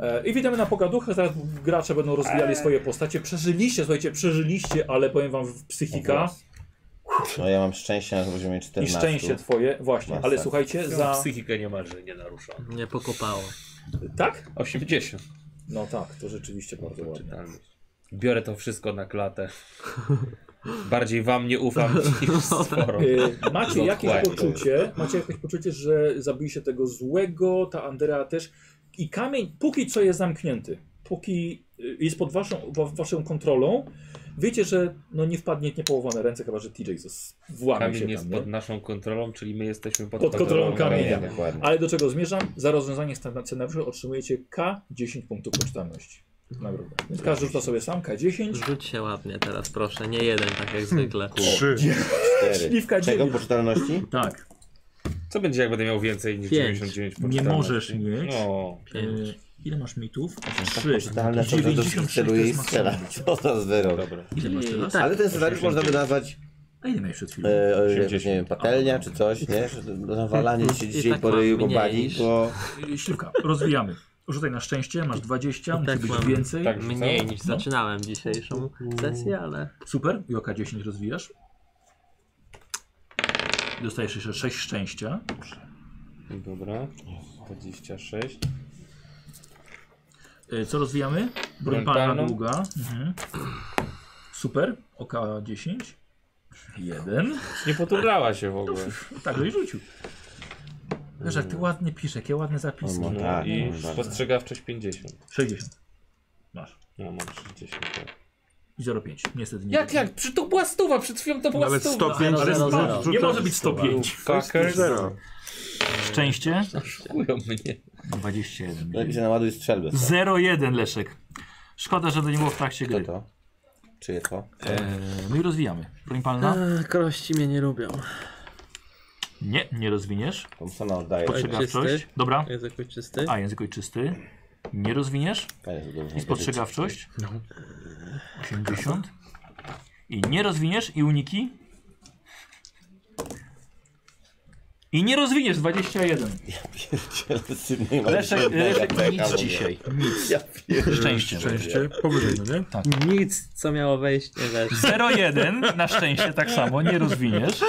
E, I witamy na pogaduchach, zaraz gracze będą rozwijali swoje postacie. Przeżyliście, słuchajcie, przeżyliście, ale powiem wam, w- psychika No ja mam szczęście na poziomie i 14. szczęście twoje, właśnie, ale Masa. słuchajcie, Za... No. za... Psychikę niemalże nie naruszono. Mnie pokopało. Tak? 80. No tak, to rzeczywiście bardzo ładnie. Czytalność. Biorę to wszystko na klatę. Bardziej wam nie ufam niż sporo. E, Macie jakieś Dokładnie. poczucie, macie jakieś poczucie, że zabiliście tego złego, ta Andrea też. I kamień póki co jest zamknięty, póki y, jest pod waszą, wa- waszą kontrolą, wiecie, że no nie wpadnie w niepołowane ręce, chyba że TJ zas- włamie się Kamień tam. jest nie? pod naszą kontrolą, czyli my jesteśmy pod, Pod kontrolą kamienia. Dokładnie, dokładnie. Ale do czego zmierzam? Za rozwiązanie scena- scenariusza otrzymujecie K10 punktów poczytalności. Nagrodę. Więc każdy rzuca sobie sam K10. Rzuć się ładnie teraz, proszę. Nie jeden, tak jak zwykle. Trzy. Cztery. Śliwka Czego dziewięć. poczytalności? Tak. Co będzie, jak będę miał więcej niż Pięć. 99 po Nie czytalności? możesz mieć. No. E, Pięć. ile masz mitów? Tak Trzy. poczytalne to że do wszystkich 96 to celuje i jest strzela. maksimum. Co za zwyrok. Dobra. Ile masz teraz? Tak. Ale ten scenariusz można by nazwać, A ile miałeś przed chwilą? e, e, jakoś, 80. nie wiem, patelnia czy coś, nie? Że Nawalanie się I dzisiaj tak po ryju, mam po mniej bani, niż- bo... E, Śliwka, rozwijamy. Rzucaj na szczęście, masz 20, musi tak być mam. więcej. Tak. Mniej niż zaczynałem dzisiejszą sesję, ale Super, Joka 10 rozwijasz. Dostajesz jeszcze 6 szczęścia. Dobra. 26. E, Co rozwijamy? Broń Broń palna palną. długa. Mhm. Super, oka 10. Jeden. Nie poturlała się w ogóle. Tak, no i rzucił. Wiesz, jak ty ładnie piszesz, jakie ładne zapiski. No, No tak, i no, bardzo. spostrzegawczość 50. 60. Masz. No mam 60. tak. I 0,5. Niestety nie. Jak, jak? Przy to była stuwa, przed chwilą to była Ale stuwa. 105 Ale jest zero. Nie może być 105. Fuckers. Zero. Szczęście. Chują mnie. 21. Lepiej się naładuj strzelbę. 0,1 Leszek. Szkoda, że to nie było w trakcie Co gry. to? Czyje to? E, no i rozwijamy. Broń palna? A, kości mnie nie lubią. Nie, nie rozwiniesz. Thompsona oddaję. Spostrzegawczość. czysty. E. Dobra. Jest jakoś czysty? A, język ojczysty. Nie rozwiniesz. A Jezu, dobrze, I nie spostrzegawczość. No. 80. I nie rozwiniesz i uniki. I nie rozwiniesz 21. pierdzielę, synu, nie ma Leszek, żadnego Leszek pecha nic w ogóle. dzisiaj. Ja pierdolę. Szczęście. Szczęście, powyżej, no nie? Nic, co miało wejść, nie weszło. 01 na szczęście tak samo, nie rozwiniesz.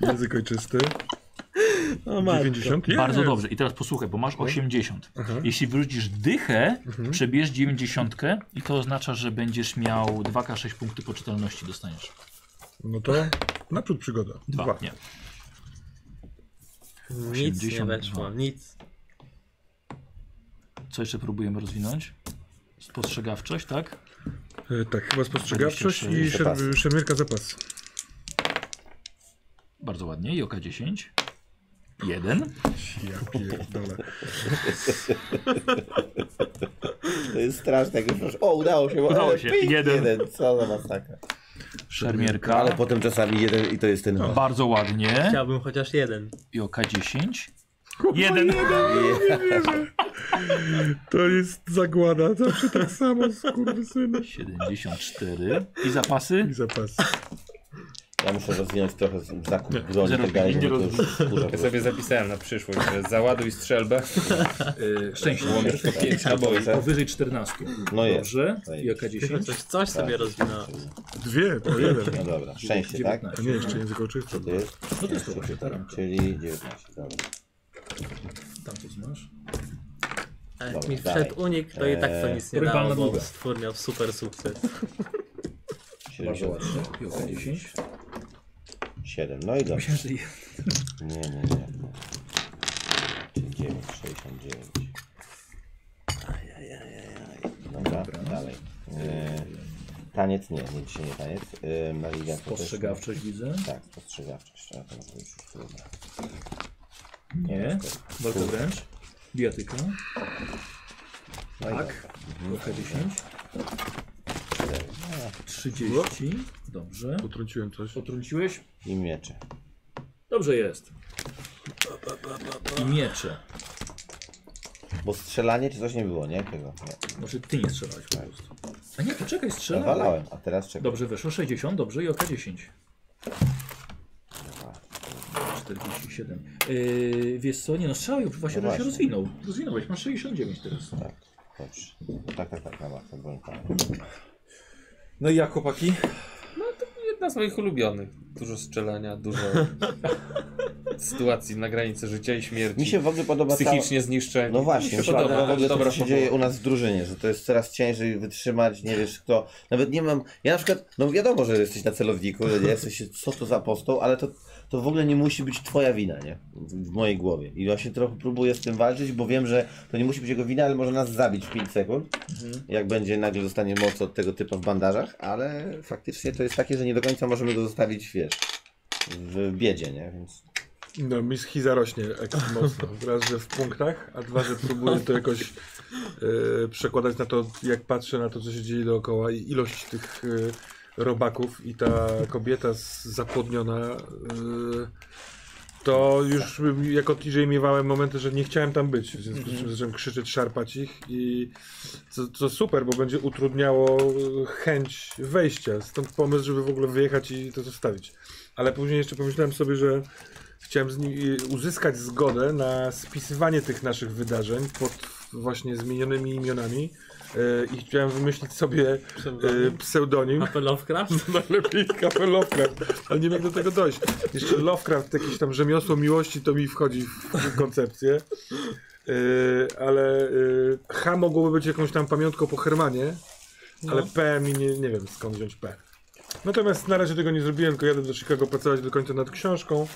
Język ojczysty. O, matko. 90? No Bardzo Jest. dobrze. I teraz posłuchaj, bo masz 80. Mhm. Jeśli wyrzucisz dychę, przebierz 90 i to oznacza, że będziesz miał 2K6 punkty poczytalności dostaniesz. No to naprzód przygoda. Dwa. Dwa. Nie. Nic nie 82. weszło, nic. Co jeszcze próbujemy rozwinąć? Spostrzegawczość, tak? E, tak, chyba spostrzegawczość i 23 sier- szermierka zapas. Bardzo ładnie. Joka 10. 1. Ja pierdolę. To jest straszne, jak już masz- O, udało się. bo- Udało ale się, pik, jeden. Jeden, co za masakra. Szermierka. No, Ale potem czasami jeden i to jest ten... Bardzo ładnie. Chciałbym chociaż jeden. Joka 10. 1. To jest zagłada, zawsze tak samo, skurwysyny. 74. I zapasy? I zapas. Ja muszę rozwinąć trochę z- zakup broni i zero tak dalej, pieniędzy żeby to już kurwa, Ja sobie zapisałem na przyszłość, że załaduj strzelbę, Yy, szczęście. łączysz to 5 naboi. Powyżej 14. No jest. Dobrze. Zajebiście. Joka 10. Coś, coś sobie Tak. rozwinąłem. Dwie, to jeden. No dobra, szczęście, tak? 19. A nie, jeszcze język ojczysty. To jest, No to jest to właśnie teraz. czyli 19, dobra. Tam coś masz. A jak Dobra, mi dalej. wszedł unik, to i tak to nic nie Eee, dało, długa. bo stwór miał super sukces. 70, Joka 10. 7, no i dobrze. Myślałem, że Nie, nie, nie. Czyli 9, 69. Dobra, no. dalej. E, taniec nie, nie dzisiaj nie taniec. E, Maliga to też- Postrzegawczość widzę. Tak, spostrzegawczość. A to może już trudno. Nie. Walka wręcz. Biatyka. No i Tak. Joka 10. 30. Dobrze. Potrąciłem coś. Potrąciłeś? I miecze. Dobrze jest. I miecze. Bo strzelanie czy coś nie było, nie? Tego. Nie. Znaczy ty nie strzelałeś po prostu. A nie, poczekaj, strzelałem. Nawalałem, a teraz czekaj. No, Dobrze, weszło 60, dobrze i oka 10. 47. Yy, wiesz co, nie no strzelaj, właśnie No no się właśnie. rozwinął. Rozwinąłeś, masz 69 teraz. Tak. Dobrze. Tak, tak, tak, na maksa, broń palna. No i jak chłopaki? No, Jedna z moich ulubionych. Dużo strzelania, dużo sytuacji na granicy życia i śmierci. Mi się w ogóle podoba cała... Tak Psychicznie zniszczeni. No właśnie, mi się podoba, podoba. w ogóle to, Dobra co się fabuła. dzieje u nas w drużynie, że to jest coraz ciężej wytrzymać, nie wiesz kto. Nawet nie mam. Ja na przykład, no wiadomo, że jesteś na celowniku, że nie jesteś, co to za apostoł, ale to, to w ogóle nie musi być twoja wina, nie? W w mojej głowie. I właśnie trochę próbuję z tym walczyć, bo wiem, że to nie musi być jego wina, ale może nas zabić w 5 sekund. Mhm. Jak będzie nagle zostanie moc od tego typa w bandażach, ale faktycznie to jest takie, że nie do końca możemy go zostawić, wiesz, w biedzie, nie? Więc No, mi schiza rośnie ekstra mocno. Raz, że w punktach, a dwa, że próbuję to jakoś e, przekładać na to, jak patrzę na to, co się dzieje dookoła i ilość tych e, robaków i ta kobieta z- zapłodniona. e, to już bym- jako TJ miewałem momenty, że nie chciałem tam być, w związku z czym zacząłem krzyczeć, szarpać ich i co, co super, bo będzie utrudniało e, chęć wejścia, stąd pomysł, żeby w ogóle wyjechać i to zostawić. Ale później jeszcze pomyślałem sobie, że chciałem z nim e, uzyskać zgodę na spisywanie tych naszych wydarzeń pod właśnie zmienionymi imionami e, i chciałem wymyślić sobie e, pseudonim. Apple Lovecraft? Najlepiej kawę Lovecraft, ale nie wiem jak do tego dojść. Jeszcze Lovecraft, jakieś tam rzemiosło miłości, to mi wchodzi w koncepcję. Yy, ale yy, H mogłoby być jakąś tam pamiątką po Hermanie, No. ale P mi nie, nie wiem skąd wziąć P. Natomiast na razie tego nie zrobiłem, tylko jadę do Chicago pracować do końca nad książką.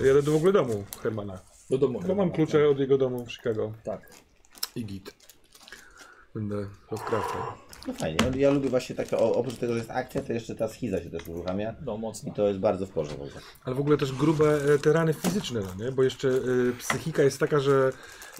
Jadę do w ogóle domu Hermana, Do domu. bo mam klucze od jego domu w Chicago Tak. i git. Będę Lovecraftem. No fajnie, ja- ja lubię właśnie takie, o- oprócz tego, że jest akcja, to jeszcze ta schiza się też uruchamia. No I mocno. to jest bardzo w porządku. Ale w ogóle też grube e, te rany fizyczne, no nie? Bo jeszcze y, psychika jest taka, że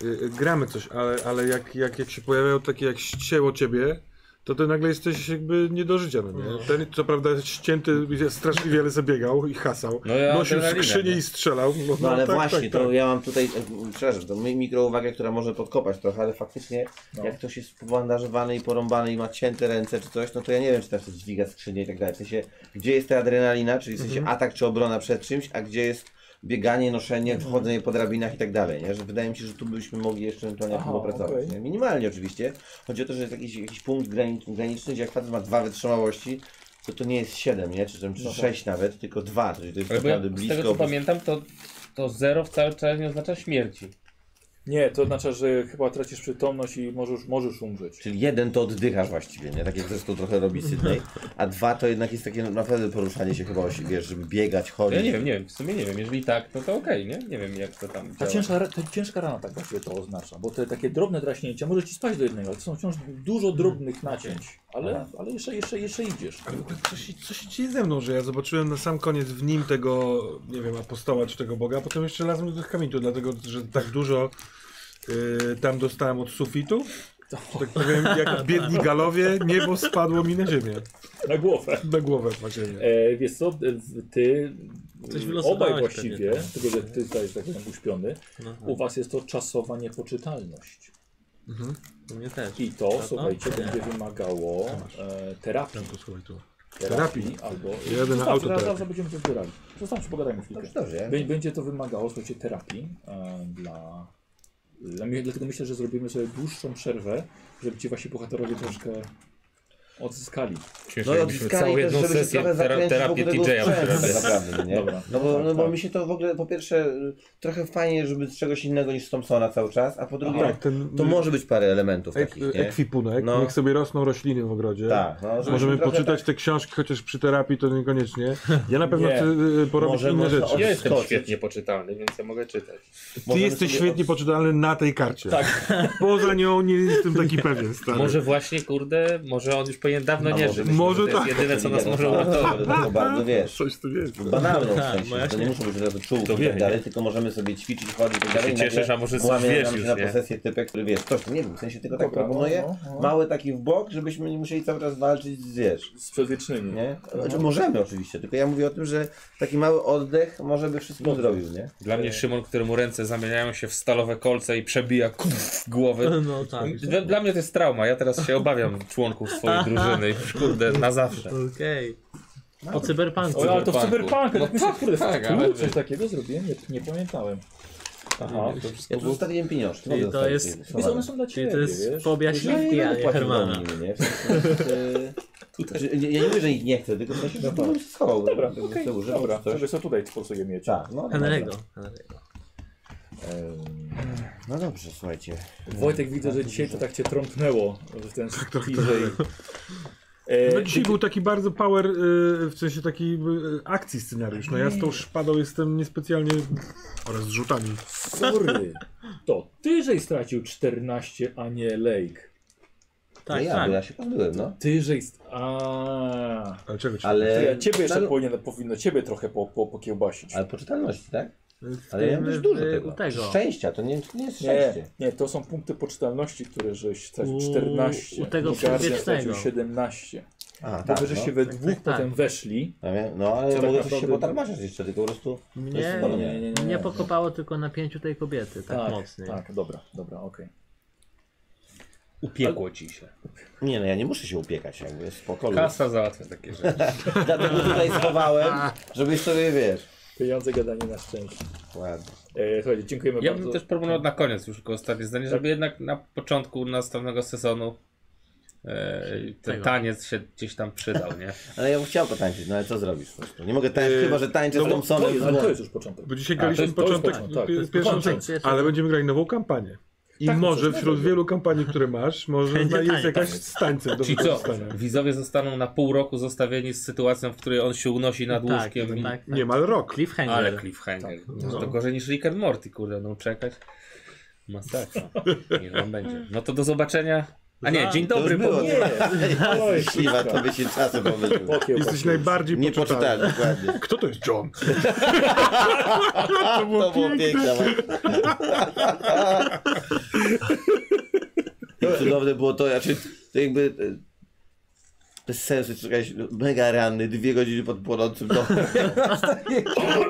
y, y, gramy coś, ale, ale jak, jak, jak się pojawiają takie jak ścięło ciebie, to ty nagle jesteś jakby nie do życia, no nie? Ten co prawda jest ścięty, straszliwie ale zabiegał i hasał. No ja Nosił adrenalinę, skrzynię nie? i strzelał. No, No ale tak, właśnie, tak, to tak. ja mam tutaj, e, przepraszam, to mi- mikrouwagę, która może podkopać trochę, ale faktycznie No. jak ktoś jest pobandażowany i porąbany i ma cięte ręce czy coś, no to ja nie wiem, czy też to dźwiga skrzynię i tak dalej. W sensie, gdzie jest ta adrenalina, czyli w sensie Mhm. atak czy obrona przed czymś, a gdzie jest bieganie, noszenie, chodzenie po drabinach i tak dalej, nie? Że wydaje mi się, że tu byśmy mogli jeszcze ewentualnie Aha, popracować. okej. nie? Minimalnie oczywiście. Chodzi o to, że jest jakiś, jakiś punkt granic, graniczny, gdzie jak facet ma dwa wytrzymałości, to to nie jest 7, nie? Czy, tam- czy 6 nawet, tylko 2, czyli to jest Ale bo ja, naprawdę z blisko. tego co blisko. pamiętam, to, to zero wcale wcale nie oznacza śmierci. Nie, to oznacza, że chyba tracisz przytomność i możesz, możesz umrzeć. Czyli jeden to oddychasz właściwie, nie? Tak jak zresztą trochę robi Sydney, a dwa to jednak jest takie naprawdę poruszanie się chyba, osi- wiesz, żeby biegać, chodzić. Ja nie wiem, nie wiem, w sumie nie wiem. Jeżeli tak, no to okej, nie? Nie wiem jak to tam Ta działa. ciężka, ra- ta ciężka rana tak właściwie to oznacza, bo te takie drobne draśnięcia może ci spaść do jednego, ale to są wciąż dużo drobnych nacięć, ale, ale jeszcze, jeszcze, jeszcze idziesz. Ale w ogóle co się, co się dzieje ze mną, że ja zobaczyłem na sam koniec w nim tego, nie wiem, apostoła czy tego Boga, a potem jeszcze razem do tych kamitu, dlatego że tak dużo y, tam dostałem od sufitu. że Tak powiem, jak biedni galowie, niebo spadło mi na ziemię, Na głowę. na głowę na ziemię. E, wiesz co, e, w- ty, Coś e, wylosowałeś obaj pewnie, właściwie, tak? tylko że ty zostajesz tak jakby uśpiony, No, u was jest to czasowa niepoczytalność. u mnie też. I to, Prawda? słuchajcie, Nie. będzie wymagało e, terapii. Tam to słuchaj tu. Terapii. Terapii. Albo... Jeden Zostawcie, autoterapii. zaraz, zaraz będziemy to zbierali. Zostawcie, pogadajmy chwilkę. Dobrze, dobrze. ja- Bę- Będzie to wymagało, słuchajcie, terapii e, dla... dla mnie, dlatego myślę, że zrobimy sobie dłuższą przerwę, żeby ci wasi bohaterowie troszkę odzyskali. Śmiesznie, No i robiliśmy odzyskali całą też, jedną żeby się sesję trochę tera- zakręcić terapię w ogóle TJ-a tego sprzętu, tak przerabiać. naprawdę, nie? Dobra. No bo, no bo Tak. mi się to w ogóle, po pierwsze, y, trochę fajnie, żeby z czegoś innego niż z Thompsona cały czas, a po drugie, Tak, ten to może być parę elementów ek, takich, nie? ekwipunek, No. niech sobie rosną rośliny w ogrodzie. Tak, no, żebyśmy Możemy trochę poczytać te książki, chociaż przy terapii to niekoniecznie. Ja na pewno Nie. chcę y, porobić Może inne można rzeczy. Ja jestem Skoczyć. świetnie poczytalny, więc ja mogę czytać. Tak, Ty możemy jesteś sobie świetnie poczytalny na tej karcie. Tak. Poza nią nie jestem taki pewien, stary. Może właśnie, kurde, może on już powinien dawno No A nie może- żyć. może to jest tak. jedyne, co nas może Tak, uratować. To bardzo, wiesz, Coś tu jest. banalną w Tak, sensie, bo ja że to się- nie muszą być od razu To czułki i wiem, tak dalej, tylko możemy sobie ćwiczyć, chodzić i tak się dalej. cieszysz, nagle a może coś łamie wiesz nam się już, na nie? posesję typek, który wiesz, coś, nie wiem, w sensie tylko tak Dobra, no, proponuję, no, no. mały taki w bok, żebyśmy nie musieli cały czas walczyć z wiesz, Z przedwiecznymi. nie? Znaczy możemy oczywiście, tylko ja mówię o tym, że taki mały oddech może by wszystko zrobił, nie? Dla mnie Szymon, któremu ręce zamieniają się w stalowe kolce i przebija kuf głowę. No tak. Dla, dla mnie to jest trauma. Ja teraz się obawiam członków swojej drużyny. Już, Kurde, na zawsze. Okej. O cyberpunku. O, ale to w Cyberpunku. cyberpunku, tak, tak, kurde, No tak, tak, tu ale- coś takiego zrobiłem, nie, nie pamiętałem. Aha, to Ja wszystko tu było... zostawiłem pieniążki. Czyli mogę to zostawić jest- pieniążki. Wiesz, one są dla Czyli ciebie, to wiesz? jest Ja poobjaśniwki, nie a nie będę płacił Hermana. domniu, nie? W sensie, że- że- Ja ja nie mówię, że ich nie chcę, tylko w sensie, że to bym się schował. Dobra, bym okej, sobie używał dobra, coś. żeby sobie tutaj sposuje mieć. Tak, no dobra. Henry'ego. Henry'ego. Em, No dobrze, słuchajcie. Wojtek, widzę, że dzisiaj to tak cię trąpnęło w ten Tak, E, bliżej. No dzisiaj był taki bardzo power, y, w sensie taki y, akcji scenariusz. No ja z tą szpadą jestem niespecjalnie... Oraz z rzutami. Sorry, to tyżej stracił 14, a nie Lake. Tak, Tak, ja, tak. bo ja się pozbyłem, no. Tyżej... st- A. Ale czego ci To Ale... ja ciebie jeszcze no, powinien, powinno ciebie trochę po, po, pokiełbasić. Ale poczytalności, tak? W Ale ja mam tym, też dużo w- tego. u tego. Szczęścia, to nie, to nie jest Nie, szczęście. nie, to są punkty poczytalności, które żeś stracił U- 14. u tego Guardian przedwiecznego. stracił 17. A, Bo tak, wy żeście no. we tak, dwóch tak. potem weszli. Ja wiem, no ale Co ja tak mogę coś naprawdę się było? potarmarzać jeszcze, tylko po prostu... Mnie, To jest nie, nie, mnie pokopało tylko napięciu tej kobiety, tak, Tak, mocniej. Tak, dobra, dobra, okej. Upiekło ci się. Nie no, ja nie muszę się upiekać, jakby jest spokojnie. Kasa załatwia takie rzeczy. Dlatego tutaj schowałem, żebyś sobie, wiesz... Pieniądze gadanie na szczęście. Ładnie. E, słuchajcie, dziękujemy Ja bardzo. bym też proponował na koniec już tylko ostatnie zdanie, żeby jednak na początku następnego sezonu e, ten Tego. taniec się gdzieś tam przydał, nie? Ale ja bym chciał potańczyć, no ale co zrobisz po prostu? Nie mogę tańczyć, Yy, chyba że tańczę no z bo- to, Thompsonem. jest, ale to jest już początek. Bo dzisiaj A, to graliśmy jest- to jest początek, początek, tak, to pi- jest pierwszą początek. część, ale będziemy grali nową kampanię. I Tak, może coś wśród nowego. wielu kampanii, które masz, może Będzie zna- jest taniec. jakaś z tańcem do Czyli co? wykorzystania. Widzowie zostaną na pół roku zostawieni z sytuacją, w której on się unosi nad tak, łóżkiem. i... tak, tak. Niemal rok. Cliffhanger. Ale cliffhanger. Tak, No. To gorzej niż Rick and Morty, kurde, no czekać. Masakra. Niech wam będzie. No to do zobaczenia. A nie, dzień To już dobry, było, bo... Nie, oj, Śliwa, to by się czasem pomylił. Pokieł, Jesteś pokieł. najbardziej Nie poczytany. poczytałem, dokładnie. Kto to jest John? To było piękne. właśnie. I Cudowne było to, znaczy, to jakby e, bez sensu, czekałeś mega ranny, dwie godziny pod płonącym domem.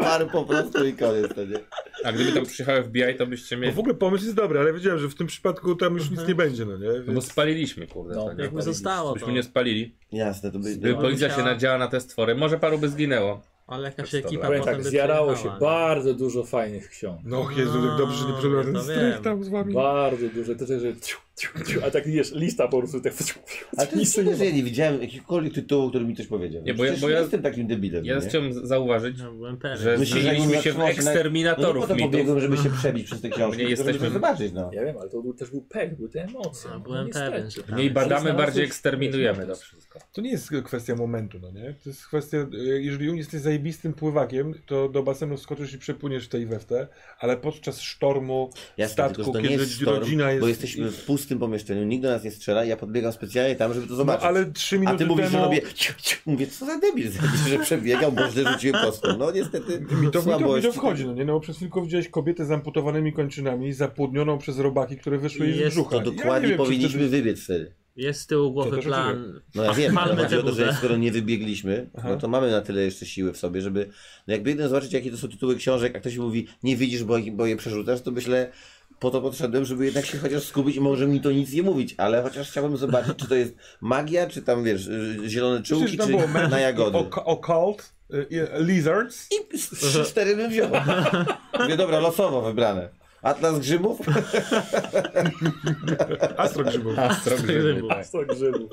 Par po prostu i koniec. To nie? A gdyby tam przyjechały FBI, to byście Bo mieli... No w ogóle pomysł jest dobry, ale wiedziałem, że w tym przypadku tam już nic nie będzie, no nie? No bo spaliliśmy, kurde. No, tak, Jakby no. zostało to. Byśmy nie spalili. Jasne, to by... Gdyby No, policja się musiała- nadziała na te stwory, może paru by zginęło. Ale jakaś Powiem ekipa Powiem potem tak, by zjarało się przyjechała, nie? bardzo dużo fajnych ksiąg. No Jezu, jak dobrze, że nie No, przebrałem ten to strych wiem. tam z wami. Bardzo dużo. To też, że ciu, ciu, ciu, a tak wiesz, lista po prostu tak. ciu, ciu, Ale to nic jest nie dziwne, ma. że ja nie widziałem jakiegokolwiek tytułu, który mi coś powiedział. Nie, bo ja- Przecież bo ja- nie jestem takim debilem, Ja nie? chciałem z- zauważyć, No, byłem pewien. że Myślę, że zmieniliśmy im się zaczynać- w No nie po eksterminatorów to mitów. pobiegłem, żeby się przebić przez te książki, tylko jesteśmy- żeby zobaczyć, no. Ja wiem, ale to był, też był pech, były te emocje. No, No, byłem niestety. pewien, że tam Mniej jest. badamy, Znalazłeś- bardziej eksterminujemy to wszystko. To nie jest kwestia momentu, no nie? To jest kwestia, y, jeżeli jesteś zajebistym pływakiem, to do basenu skoczysz i przepłyniesz w tej we w te, ale podczas sztormu Jasne, tylko, statku, że to nie kiedy jest sztorm, rodzina jest... bo jesteśmy w pustym pomieszczeniu, nikt do nas nie strzela i ja podbiegam specjalnie tam, żeby to No, zobaczyć. ale trzy A minuty ty mówisz, temu... że robię ciu, ciu. Mówię, co za debil, że przebiegał, bo źle rzuciłem kostką. No niestety, Mi to, mi, to, mi słabości. to wchodzi, no nie? No bo przez chwilkę widziałeś kobietę z amputowanymi kończynami, zapłodnioną przez robaki, które wyszły jej z Jest brzucha. To ja nie dokładnie wiem, powinniśmy Czy wybiec wtedy. Jest z tyłu To głowy też plan. No ja wiem, ale Palmy chodzi tę o to, że burzę. skoro nie wybiegliśmy, no to mamy na tyle jeszcze siły w sobie, żeby no jakby jeden zobaczyć, jakie to są tytuły książek, a ktoś mówi, nie widzisz, bo, bo je przerzucasz, to myślę, po to podszedłem, żeby jednak się chociaż skupić i może mi to nic nie mówić, ale chociaż chciałbym zobaczyć, czy to jest magia, czy tam, wiesz, y, zielone to czułki, Przecież tam czy było Magic, na jagody. ok- Occult, y, y, Lizards. I z trzy, cztery bym wziął. Mówię, dobra, losowo wybrane. Atlas Grzymów? Astrogrzybów. Astro grzyby, tak. Sto grzybów.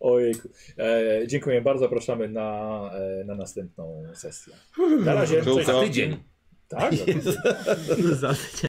Ojejku. E, dziękuję bardzo, zapraszamy na, e, na następną sesję. Na razie. Czołko. Cześć. Tydzień. Tak? Za tydzień.